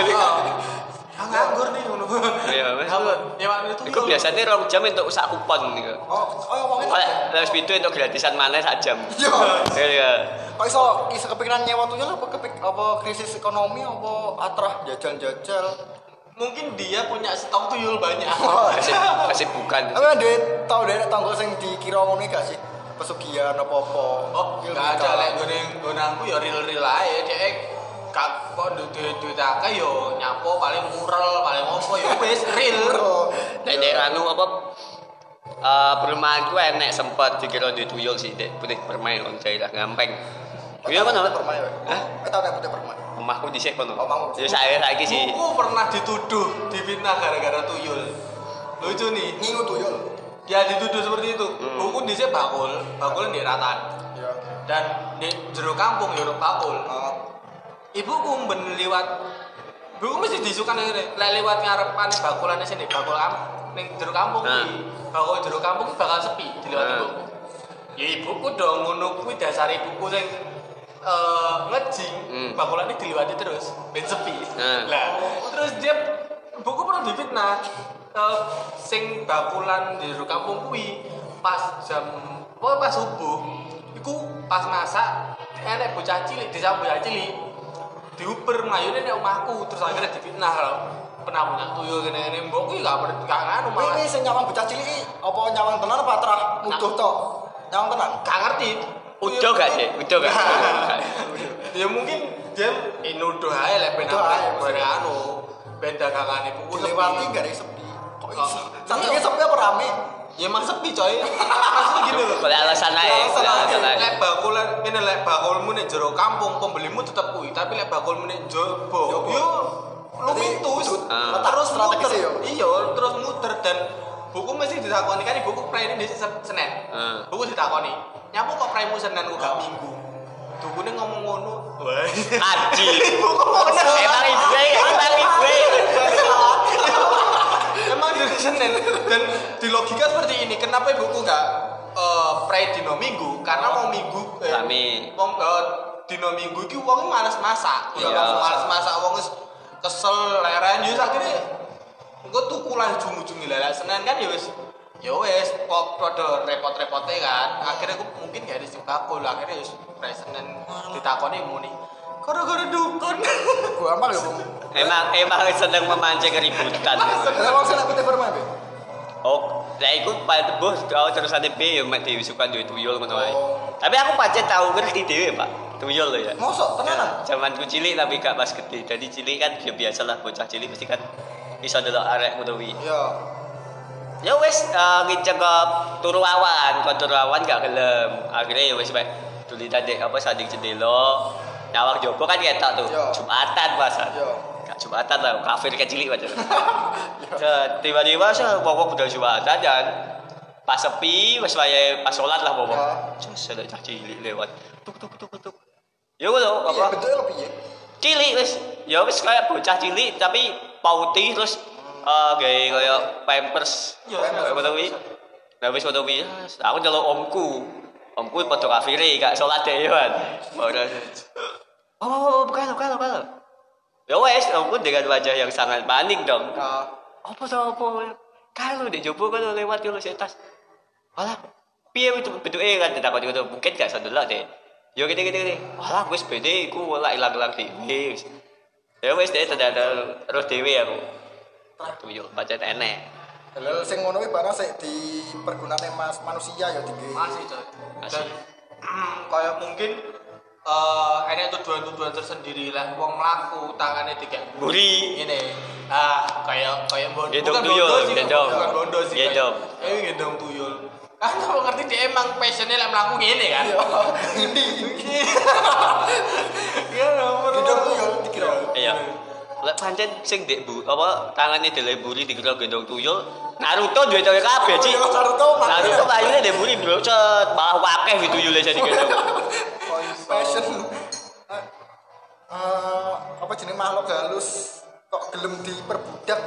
[SPEAKER 2] Ah, nganggur nih ngono
[SPEAKER 1] Iya, wes.
[SPEAKER 2] Apa? ya mak itu
[SPEAKER 1] Iku biasanya rong jam untuk sak kupon gitu.
[SPEAKER 3] Oh, oh ya wong itu.
[SPEAKER 1] Oleh lewat itu untuk gratisan mana sak jam.
[SPEAKER 3] Yo.
[SPEAKER 1] Iya.
[SPEAKER 3] Kok iso iso kepikiran nyewa tuyul apa kepik apa krisis ekonomi apa atrah jajan-jajal.
[SPEAKER 2] mungkin dia punya stok tuyul banyak
[SPEAKER 1] Masih, masih bukan.
[SPEAKER 3] Tapi ada tau deh tangga sing dikira ngono gak sih? Pesugihan apa-apa.
[SPEAKER 2] Oh, enggak ada lek gue yang gue nangku ya real real aja dek. Kak, eh, kok duit duit duit akeh yo nyapo paling mural paling opo yo wes real.
[SPEAKER 3] Oh,
[SPEAKER 1] Nek nek anu apa eh perumahan ku enek sempat dikira di tuyul sih dek putih permain on daerah gampeng. Iya kan apa?
[SPEAKER 3] permai. Hah? Kita udah putih permai.
[SPEAKER 1] Omahku dhisik kono.
[SPEAKER 3] Omahmu.
[SPEAKER 1] Ya saya saiki sih.
[SPEAKER 2] Aku pernah dituduh difitnah gara-gara tuyul. Lucu nih.
[SPEAKER 3] Ngingu tuyul.
[SPEAKER 2] Ya dituduh seperti itu.
[SPEAKER 1] Hmm.
[SPEAKER 2] Buku di bakul, bakul di ratan
[SPEAKER 3] Iya.
[SPEAKER 2] dan di jero kampung yo bakul.
[SPEAKER 3] Eh,
[SPEAKER 2] Ibuku ben liwat Ibuku mesti disukan ngene, lek liwat ngarepane bakulane sini bakul kampung ning jero kampung
[SPEAKER 1] Nah.
[SPEAKER 2] kuwi. Bakul jero kampung kuwi bakal sepi diliwat
[SPEAKER 1] Nah.
[SPEAKER 2] ibuku. Ya ibuku dong ngono kuwi dasar ibuku sing eh ngejing
[SPEAKER 1] Hmm.
[SPEAKER 2] bakulane diliwati terus ben sepi.
[SPEAKER 1] Nah.
[SPEAKER 2] Lah, terus dia ibuku pernah difitnah eh sing bakulan di jero kampung kuwi pas jam pokoknya pas subuh iku pas masak enek bocah cilik desa bocah cilik diuber mlayune nek omahku terus akhirnya difitnah lho. penabungan tuyul kene-kene mbok kuwi gak per- gak nganu malah.
[SPEAKER 3] Ini sing nyawang bocah cilik iki apa nyawang tenan apa terah nuduh
[SPEAKER 1] Nah.
[SPEAKER 3] tok? Nyawang tenan.
[SPEAKER 2] Gak ngerti.
[SPEAKER 1] Udah gak sih? Udah
[SPEAKER 2] [laughs]
[SPEAKER 1] gak? Udah gak?
[SPEAKER 2] ya mungkin dia eh, nuduh ae lek ben
[SPEAKER 3] Nuduh ae,
[SPEAKER 2] apa ben
[SPEAKER 3] maksudnya.
[SPEAKER 2] anu ben dagangane ibu
[SPEAKER 3] Dilewati gak ada sepi. Kok
[SPEAKER 2] Kok-
[SPEAKER 3] iso? Saturnnya sepi apa rame?
[SPEAKER 2] ya emang sepi coy maksudnya gini loh
[SPEAKER 1] Boleh alasan aja, boleh alasan aja.
[SPEAKER 2] Lek bakul ini lek bakulmu nek jero kampung pembelimu tetep kuwi, tapi lek bakulmu nek jobo
[SPEAKER 3] Jobo.
[SPEAKER 2] yo lu
[SPEAKER 3] Berarti
[SPEAKER 2] pintus.
[SPEAKER 3] dut-
[SPEAKER 1] Ah.
[SPEAKER 2] terus
[SPEAKER 3] strategis
[SPEAKER 2] muter.
[SPEAKER 3] ya.
[SPEAKER 2] Iya, terus muter dan buku mesti ditakoni kan buku prei ini di Se- Senen.
[SPEAKER 1] Ah.
[SPEAKER 2] Buku ditakoni. Nyapu kok preimu Senin kok gak Minggu. Dukune ngomong ngono. Wah.
[SPEAKER 1] Aji.
[SPEAKER 2] Ibu kok ngono.
[SPEAKER 1] Emang ibu, ya, emang ibu.
[SPEAKER 2] Emang dari Senin dan di logika seperti ini kenapa ibuku nggak eh pray dino minggu karena mau minggu eh,
[SPEAKER 1] Rame.
[SPEAKER 2] mau eh, dino minggu itu wong males masak
[SPEAKER 1] Iya.
[SPEAKER 2] iya. males masak wong wis kesel leren yo akhirnya gue tuku lah ujung-ujung lelek Senin kan ya wis ya wis kok rada repot-repotnya kan akhirnya gue mungkin gak ada sing bakul akhirnya wis pray Senin ditakoni muni gara-gara dukun
[SPEAKER 3] Gua amal ya, Bung.
[SPEAKER 1] Emang emang sedang memancing keributan.
[SPEAKER 3] Emang sih aku tebar main.
[SPEAKER 1] Oh, lah iku paling tebus kalau terusane B ya Mak Dewi suka duwe tuyul ngono wae.
[SPEAKER 3] Oh.
[SPEAKER 1] Tapi aku pancen tahu ngerti dhewe, Pak. Tuyul lho ya.
[SPEAKER 3] Mosok tenanan.
[SPEAKER 1] Zaman ku cilik tapi gak pas gede. Jadi cilik kan ya biasalah bocah cilik mesti kan iso delok arek ngono kuwi.
[SPEAKER 3] Iya.
[SPEAKER 1] Ya wis uh, ngicekep turu awan, kok turu awan gak gelem. Akhirnya ya wis bae tulitan dek apa sanding jendela. Nyawang jopo kan ketok tuh.
[SPEAKER 3] Yo.
[SPEAKER 1] Jumatan masa.
[SPEAKER 3] Yo.
[SPEAKER 1] Gak Jumatan lah, kafir kecilik aja. Set, Tiba-tiba saya pokok udah Jumatan dan pas sepi wis wayahe pas sholat lah pokok.
[SPEAKER 3] Yo.
[SPEAKER 1] Jos ada cah cilik lewat. Tuk tuk tuk tuk. Ya ngono
[SPEAKER 3] Iya,
[SPEAKER 1] apa?
[SPEAKER 3] bentuknya lebih ya.
[SPEAKER 1] cilik wis ya wis kayak bocah cilik tapi pauti terus eh gaya kayak pampers
[SPEAKER 2] Iya,
[SPEAKER 1] Kayak ngono kuwi nah wis ngono kuwi yes. aku ndelok omku omku padha kafire gak salat deh ya kan ora oh, oh oh, bukan bukan bukan ya wis omku dengan wajah yang sangat panik dong
[SPEAKER 2] Ya.
[SPEAKER 3] Nah,
[SPEAKER 1] apa sama apa kalau di jopo kan lewat kalau saya tas alah piye itu bentuknya kan tidak kau itu mungkin gak sadar lah deh yo gini gini gini alah wis beda aku lah hilang hilang di wis ya wis deh tidak ada terus dewi aku tuh yo baca enek
[SPEAKER 3] Lel sing ngono iki barang sik dipergunakne mas manusia ya tinggi.
[SPEAKER 2] masih coy
[SPEAKER 1] Masih.
[SPEAKER 2] dan mm, kayak mungkin eh ada tujuan-tujuan tersendiri lah wong mlaku tangannya tiga
[SPEAKER 1] buri
[SPEAKER 2] ini ah kayak kayak bondo
[SPEAKER 1] Gendong tuyul,
[SPEAKER 2] sih
[SPEAKER 1] gendong.
[SPEAKER 2] bukan bondo sih kayak-
[SPEAKER 1] Gendong.
[SPEAKER 2] eh gendong tuyul kan kamu ngerti dia emang passionnya lah melaku gini kan
[SPEAKER 3] Ini
[SPEAKER 2] iya
[SPEAKER 3] Gendong tuyul, dikira.
[SPEAKER 1] iya Lek pancen sing dek bu apa tangannya dileburi dikira gendong tuyul Naruto duwe cewek kabeh Ci.
[SPEAKER 3] Iya, Naruto, Pak.
[SPEAKER 1] Naruto akhirnya dileburi bro cet malah wakeh di tuyule jadi gendong.
[SPEAKER 3] passion. Eh, eh, apa jenis makhluk halus kok gelem diperbudak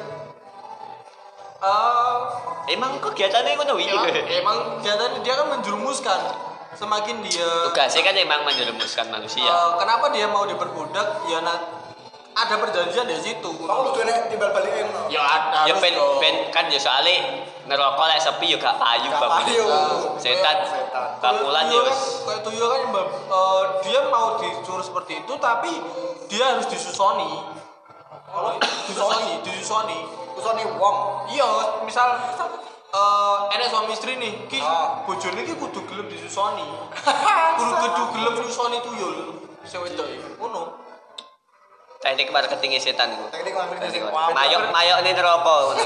[SPEAKER 1] Emang kegiatannya ngono iki.
[SPEAKER 3] Iya.
[SPEAKER 2] emang Eh, ya, emang kegiatan dia kan menjerumuskan semakin dia
[SPEAKER 1] Tugasnya kan emang menjerumuskan manusia.
[SPEAKER 3] Oh.
[SPEAKER 2] eh, kenapa dia mau diperbudak ya na- ada perjanjian di situ
[SPEAKER 3] kok lu nek timbal balik e ngono
[SPEAKER 2] ya
[SPEAKER 1] ya
[SPEAKER 2] ada harus
[SPEAKER 1] ben
[SPEAKER 2] dong.
[SPEAKER 1] ben kan ya soalnya neraka lek sepi ya gak payu
[SPEAKER 3] Gak
[SPEAKER 1] bapak.
[SPEAKER 3] payu.
[SPEAKER 1] Setan
[SPEAKER 3] Setan.
[SPEAKER 1] bakulan ya
[SPEAKER 2] Tuyul
[SPEAKER 1] wis.
[SPEAKER 2] kan- kayak tuyul kan mbak- eh, dia mau disuruh seperti itu tapi dia harus disusoni Eh, disusoni disusoni
[SPEAKER 3] kusone wong
[SPEAKER 2] iya misal eh enek suami istri nih ki
[SPEAKER 3] Ah.
[SPEAKER 2] bojone ki kudu gelem disusoni kudu kudu gelem nyusoni tuyul sing wedok iki. ngono
[SPEAKER 1] Teknik marketingnya setan iku.
[SPEAKER 3] teknik ngambil sing
[SPEAKER 1] Teknik
[SPEAKER 3] wong
[SPEAKER 1] marketing. Mayok mayok nih neraka ngono.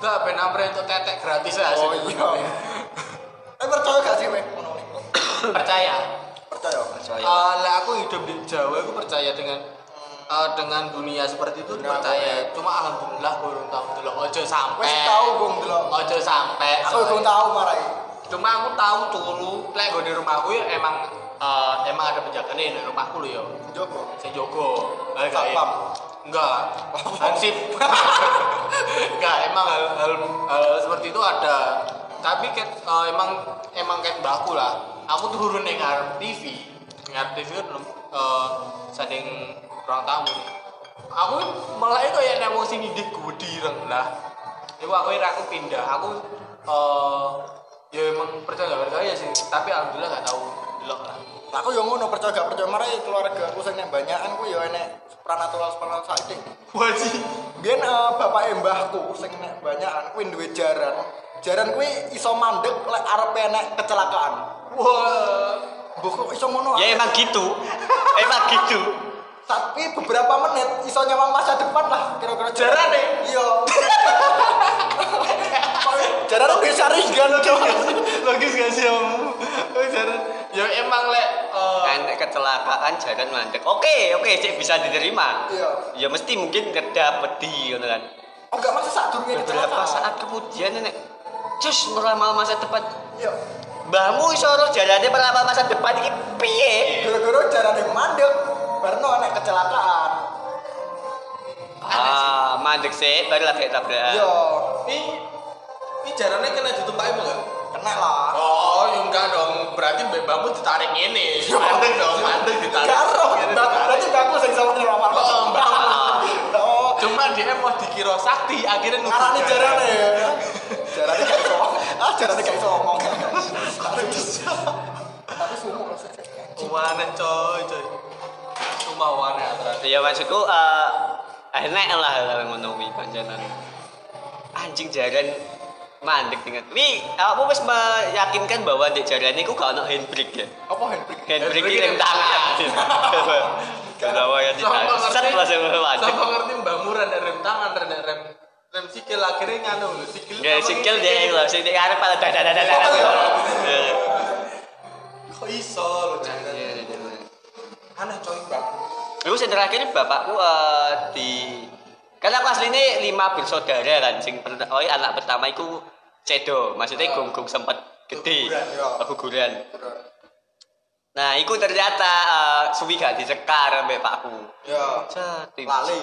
[SPEAKER 2] enggak ben amre entuk tetek gratis ya
[SPEAKER 3] oh
[SPEAKER 2] sih.
[SPEAKER 3] iya eh percaya gak sih weh ngono iku?
[SPEAKER 2] percaya
[SPEAKER 3] percaya
[SPEAKER 1] Percaya.
[SPEAKER 3] Ah.
[SPEAKER 2] Eh, lah aku hidup di Jawa aku percaya dengan eh, dengan dunia seperti itu
[SPEAKER 3] Enggak,
[SPEAKER 2] percaya cuma alhamdulillah belum tahu dulu ojo sampai
[SPEAKER 3] wis tau gong delok
[SPEAKER 2] ojo sampai
[SPEAKER 3] aku gong tau marai
[SPEAKER 2] cuma aku tahu dulu lek gue di rumahku ya emang eh, emang ada penjaga nih di rumahku lo ya
[SPEAKER 3] jogo
[SPEAKER 2] saya jogo Eh, enggak,
[SPEAKER 3] Satpam.
[SPEAKER 2] enggak hansip [laughs] enggak emang hal, hal, hal seperti itu ada tapi ket, eh, emang emang kayak mbakku lah aku turun yang ngarep TV ngarep TV kan eh, sanding ruang tamu aku mulai kayak nemu sini di gudireng lah itu aku aku pindah aku eh, ya emang percaya nggak percaya sih tapi alhamdulillah nggak tahu delok lah
[SPEAKER 3] aku yo ngono percaya gak percaya mari keluarga aku sing banyakan ku yo enek supranatural supranatural saiki.
[SPEAKER 2] Wajib.
[SPEAKER 3] Biyen eh, bapak mbahku sing nek banyakan kuwi duwe jaran. Jaran kuwi iso mandek lek arep enek kecelakaan.
[SPEAKER 2] Wah.
[SPEAKER 3] Mbok kok iso ngono.
[SPEAKER 1] ya
[SPEAKER 3] ah?
[SPEAKER 1] emang gitu emang gitu
[SPEAKER 3] Tapi beberapa menit iso nyawang masa depan lah kira-kira jaran
[SPEAKER 2] Jarane?
[SPEAKER 3] Iya. Jaran udah saris kan
[SPEAKER 2] Logis gak sih om? Jarang. Ya emang lek. eh,
[SPEAKER 1] Oh, kan kecelakaan jalan mandek oke oke sih bisa diterima
[SPEAKER 3] Iya.
[SPEAKER 1] ya mesti mungkin dapat di gitu kan
[SPEAKER 3] Oh gak masa saat durunge
[SPEAKER 1] beberapa saat kemudian nek cus meramal masa depan
[SPEAKER 3] Iya.
[SPEAKER 1] mbahmu iso ora jalane meramal masa depan iki piye
[SPEAKER 3] Gara-gara jarane mandek barno enek kecelakaan.
[SPEAKER 1] ah mandek sih baru lagi tabrakan
[SPEAKER 3] Iya.
[SPEAKER 2] Ini ini jarannya kena ditumpahin enggak?
[SPEAKER 3] Kena lah.
[SPEAKER 2] Oh, ya enggak dong. Berarti bambu ditarik ini. Mandek dong, mandek ditarik.
[SPEAKER 3] Karo,
[SPEAKER 2] Ini
[SPEAKER 3] Mbak.
[SPEAKER 2] ditarik.
[SPEAKER 3] berarti aku sing sama nyawa mama.
[SPEAKER 2] Oh, Mbak.
[SPEAKER 1] Ah,
[SPEAKER 3] Oh,
[SPEAKER 2] Cuma dia mau dikira sakti, akhirnya nunggu
[SPEAKER 3] ngarani
[SPEAKER 2] jaran.
[SPEAKER 3] jarane. Jarane gak
[SPEAKER 1] [laughs]
[SPEAKER 3] iso. Ah, jarane gak iso ngomong. Tapi sumuk loh, saya.
[SPEAKER 2] Wane coy, coy. Cuma wane aturan.
[SPEAKER 1] ya maksudku eh enak lah kalau ngono kuwi pancen anjing jaran mandek dengan wi kamu wis meyakinkan bahwa di jaran ini ku gak ono handbrake ya
[SPEAKER 3] Apa handbrake?
[SPEAKER 1] handbrake ya?
[SPEAKER 2] Handbrake
[SPEAKER 1] ini
[SPEAKER 2] yang
[SPEAKER 1] [laughs] tangan Kenapa ya
[SPEAKER 2] Sama
[SPEAKER 1] tidak? Set
[SPEAKER 2] ngerti,
[SPEAKER 1] langsung mandek.
[SPEAKER 2] sama ngerti Mbak Murah dan rem tangan, rem rem rem sikil akhirnya nganu lho, sikil.
[SPEAKER 1] Gak
[SPEAKER 2] apa
[SPEAKER 1] sikil
[SPEAKER 2] ini?
[SPEAKER 1] dia yang loh, sing dia arep pada dadah dadah dadah. Iya,
[SPEAKER 2] Kok iso lho, jangan.
[SPEAKER 1] iya,
[SPEAKER 2] Aneh coy, Mbak.
[SPEAKER 1] Lalu yang terakhir bapakku eh, di karena aku asli ini lima bersaudara kan, sing per- oh, anak pertama itu cedo, maksudnya gunggung sempat gede,
[SPEAKER 3] Ah. Keguguran, ya.
[SPEAKER 1] keguguran. Nah, itu ternyata eh, suwi gak dicekar mbak pakku.
[SPEAKER 3] Ya.
[SPEAKER 1] Jadi-
[SPEAKER 3] Lali.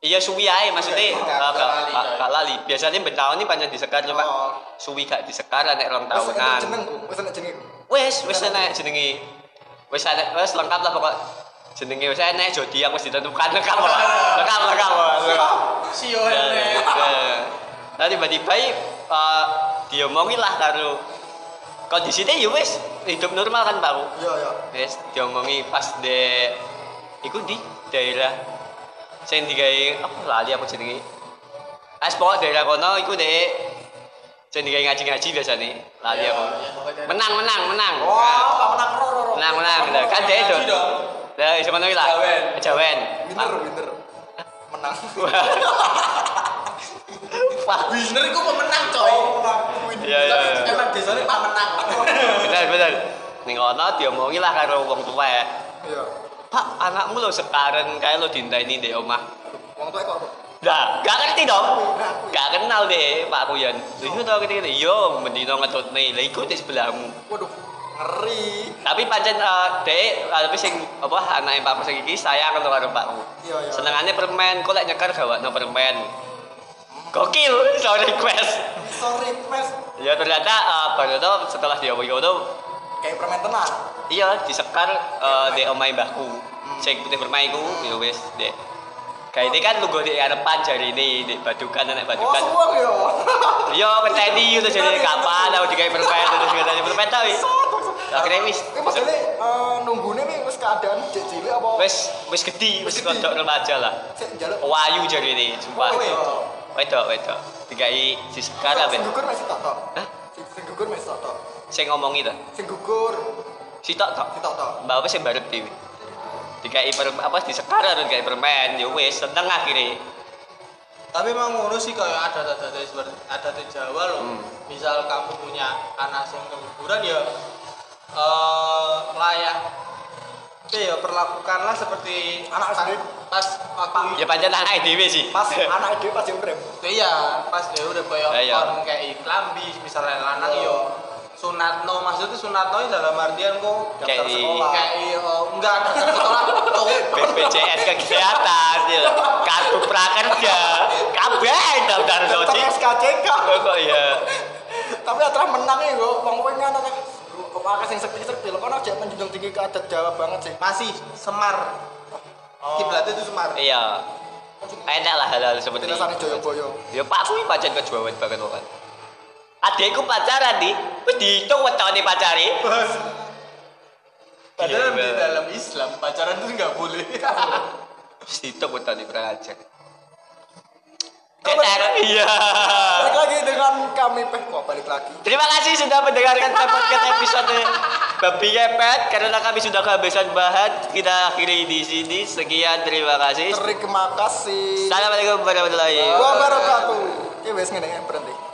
[SPEAKER 1] Iya suwi ae maksudnya eh, gak
[SPEAKER 3] Iya,
[SPEAKER 2] gak- gak
[SPEAKER 1] lali,
[SPEAKER 2] lali,
[SPEAKER 1] gak,
[SPEAKER 2] coy.
[SPEAKER 1] gak lali. Biasanya ben tahun ini panjang disekar cuma
[SPEAKER 3] Oh.
[SPEAKER 1] suwi gak disekar nek rong
[SPEAKER 3] Wes enek
[SPEAKER 1] tahunan.
[SPEAKER 3] jeneng, wes enek jeneng.
[SPEAKER 1] Wes wes enak jenenge. Wes enak wes lengkap lah pokok jenenge wes enak jodi yang wis ditentukan lengkap lah. Lengkap lengkap. lengkap.
[SPEAKER 2] Sio
[SPEAKER 1] Nah,
[SPEAKER 2] ene.
[SPEAKER 1] nah. Nah tiba-tiba eh, diomongi lah karo kondisinya ya wes hidup normal kan Pak.
[SPEAKER 3] Iya, iya.
[SPEAKER 1] Wes diomongi pas de iku di daerah sing digawe apa lali apa jenenge. As pokok daerah kono iku de sing digawe ngaji-ngaji biasane lali
[SPEAKER 2] Iya,
[SPEAKER 1] aku.
[SPEAKER 2] iya, pokoknya.
[SPEAKER 1] Menang menang menang.
[SPEAKER 3] Wah, gak menang ro ro, ro.
[SPEAKER 1] Menang menang nah, kan de itu.
[SPEAKER 2] Ngaji dong.
[SPEAKER 1] Lah iso ngono iki lah. Eh,
[SPEAKER 2] Jawen.
[SPEAKER 1] Jawen.
[SPEAKER 3] Winner, winner. Menang.
[SPEAKER 1] Wah.
[SPEAKER 2] Winner iku pemenang coy.
[SPEAKER 3] Oh, menang. Winner.
[SPEAKER 1] Iya iya. iya.
[SPEAKER 2] Emang desane pemenang.
[SPEAKER 1] Bener bener. Ning ono diomongi lah karo wong tuwa ya.
[SPEAKER 3] Iya.
[SPEAKER 1] Pak, anakmu lo sekarang kayak lo dintaini di omah.
[SPEAKER 3] Wong tuwa kok.
[SPEAKER 1] Nah, gak ngerti dong. Gak kenal deh Pak Kuyan. Itu tau ketika ini, yo mendino ngetut nih, lah ikut di sebelahmu.
[SPEAKER 3] Waduh, ngeri.
[SPEAKER 1] Tapi pancen eh, dek, eh, tapi sing apa anak Pak Kus iki sayang karo karo Pak Ku.
[SPEAKER 3] Iya, iya.
[SPEAKER 1] Senengane permen, kok lek nyekar gawakno permen. Gokil, [laughs] so request.
[SPEAKER 3] Sorry, Mas.
[SPEAKER 1] Ya ternyata eh, baru itu setelah diomongi itu,
[SPEAKER 3] Kayak permen tenan.
[SPEAKER 1] iya disekar eh, dek omai mbahku.
[SPEAKER 3] Hmm.
[SPEAKER 1] Sing putih permen iku, ya wis dek. Kayak ini kan lu gue di arepan jari ini, di badukan, anak
[SPEAKER 3] Oh,
[SPEAKER 1] badukan. Iya,
[SPEAKER 3] semua yo.
[SPEAKER 1] Yo petani itu jadi kapan aku juga permen terus katanya permen tau
[SPEAKER 3] [laughs]
[SPEAKER 1] ya. Akhirnya wis
[SPEAKER 3] Ini maksudnya eh, nunggunya nih wis keadaan cek cilik apa?
[SPEAKER 1] wis wis gede wis kodok remaja lah.
[SPEAKER 3] Cek jaluk.
[SPEAKER 1] Wayu jadi ini sumpah.
[SPEAKER 3] Oh, wedok.
[SPEAKER 1] Wedok wedok. Dikai si sekarang
[SPEAKER 3] Sing
[SPEAKER 1] ben.
[SPEAKER 3] gugur masih toto.
[SPEAKER 1] Hah?
[SPEAKER 3] Sing sing gugur masih toto.
[SPEAKER 1] Saya ngomongi to.
[SPEAKER 3] Sing gugur
[SPEAKER 1] Si tok tok.
[SPEAKER 3] si toto.
[SPEAKER 1] Mbak wis yang barep dewe. Dikai per apa di sekarang harus dikai permen ya wis seneng akhirnya.
[SPEAKER 2] [laughs] Tapi emang ngono sih kayak ada ada seperti ada di Jawa loh. Misal kamu punya anak sing keguguran ya eh layak ya perlakukanlah seperti
[SPEAKER 3] Anak
[SPEAKER 2] pas-
[SPEAKER 3] sendiri.
[SPEAKER 2] pas waktu
[SPEAKER 1] Ya pancen anak dewe sih.
[SPEAKER 3] Pas anak dia pas yang prem.
[SPEAKER 2] iya Iya. pas dia udah
[SPEAKER 1] Iya.
[SPEAKER 2] kayak kon kayak iklambi misalnya lanang yo sunatno maksudnya sunatno ini dalam artian kok
[SPEAKER 1] Kayak i-
[SPEAKER 2] kayak i- oh, enggak daftar [laughs] sekolah tuh
[SPEAKER 1] BPJS kesehatan, ya. kartu prakerja, kabeh daftar
[SPEAKER 3] Daftar
[SPEAKER 1] soji.
[SPEAKER 3] SKCK.
[SPEAKER 1] Kok ya
[SPEAKER 3] Tapi atra menang ya kok. Wong kowe kan anak kok akeh sing sekti-sekti lho kono aja menjunjung tinggi keadat Jawa banget sih.
[SPEAKER 2] masih semar
[SPEAKER 1] Oh.
[SPEAKER 2] kiblatnya itu semar
[SPEAKER 1] Iya. Enak lah hal-hal seperti itu.
[SPEAKER 3] Tinasane Joyoboyo.
[SPEAKER 1] Ya Pak kuwi pancen kejuawet banget kan. Adekku pacaran di, wis diitung wetone pacare. Iya,
[SPEAKER 2] Padahal di
[SPEAKER 1] Mbak.
[SPEAKER 2] dalam Islam pacaran itu nggak boleh.
[SPEAKER 1] [laughs] Wis ditok kok tani kurang ajar.
[SPEAKER 3] Kok balik-
[SPEAKER 1] Iya.
[SPEAKER 3] Balik lagi dengan kami peh kok balik lagi.
[SPEAKER 1] Terima kasih sudah mendengarkan podcast episode Babi Ngepet karena kami sudah kehabisan bahan. Kita akhiri di sini. Sekian terima kasih.
[SPEAKER 3] Terima kasih.
[SPEAKER 1] Assalamualaikum warahmatullahi wabarakatuh.
[SPEAKER 3] Wabarakatuh. Oke, Eh, wes ngene berhenti.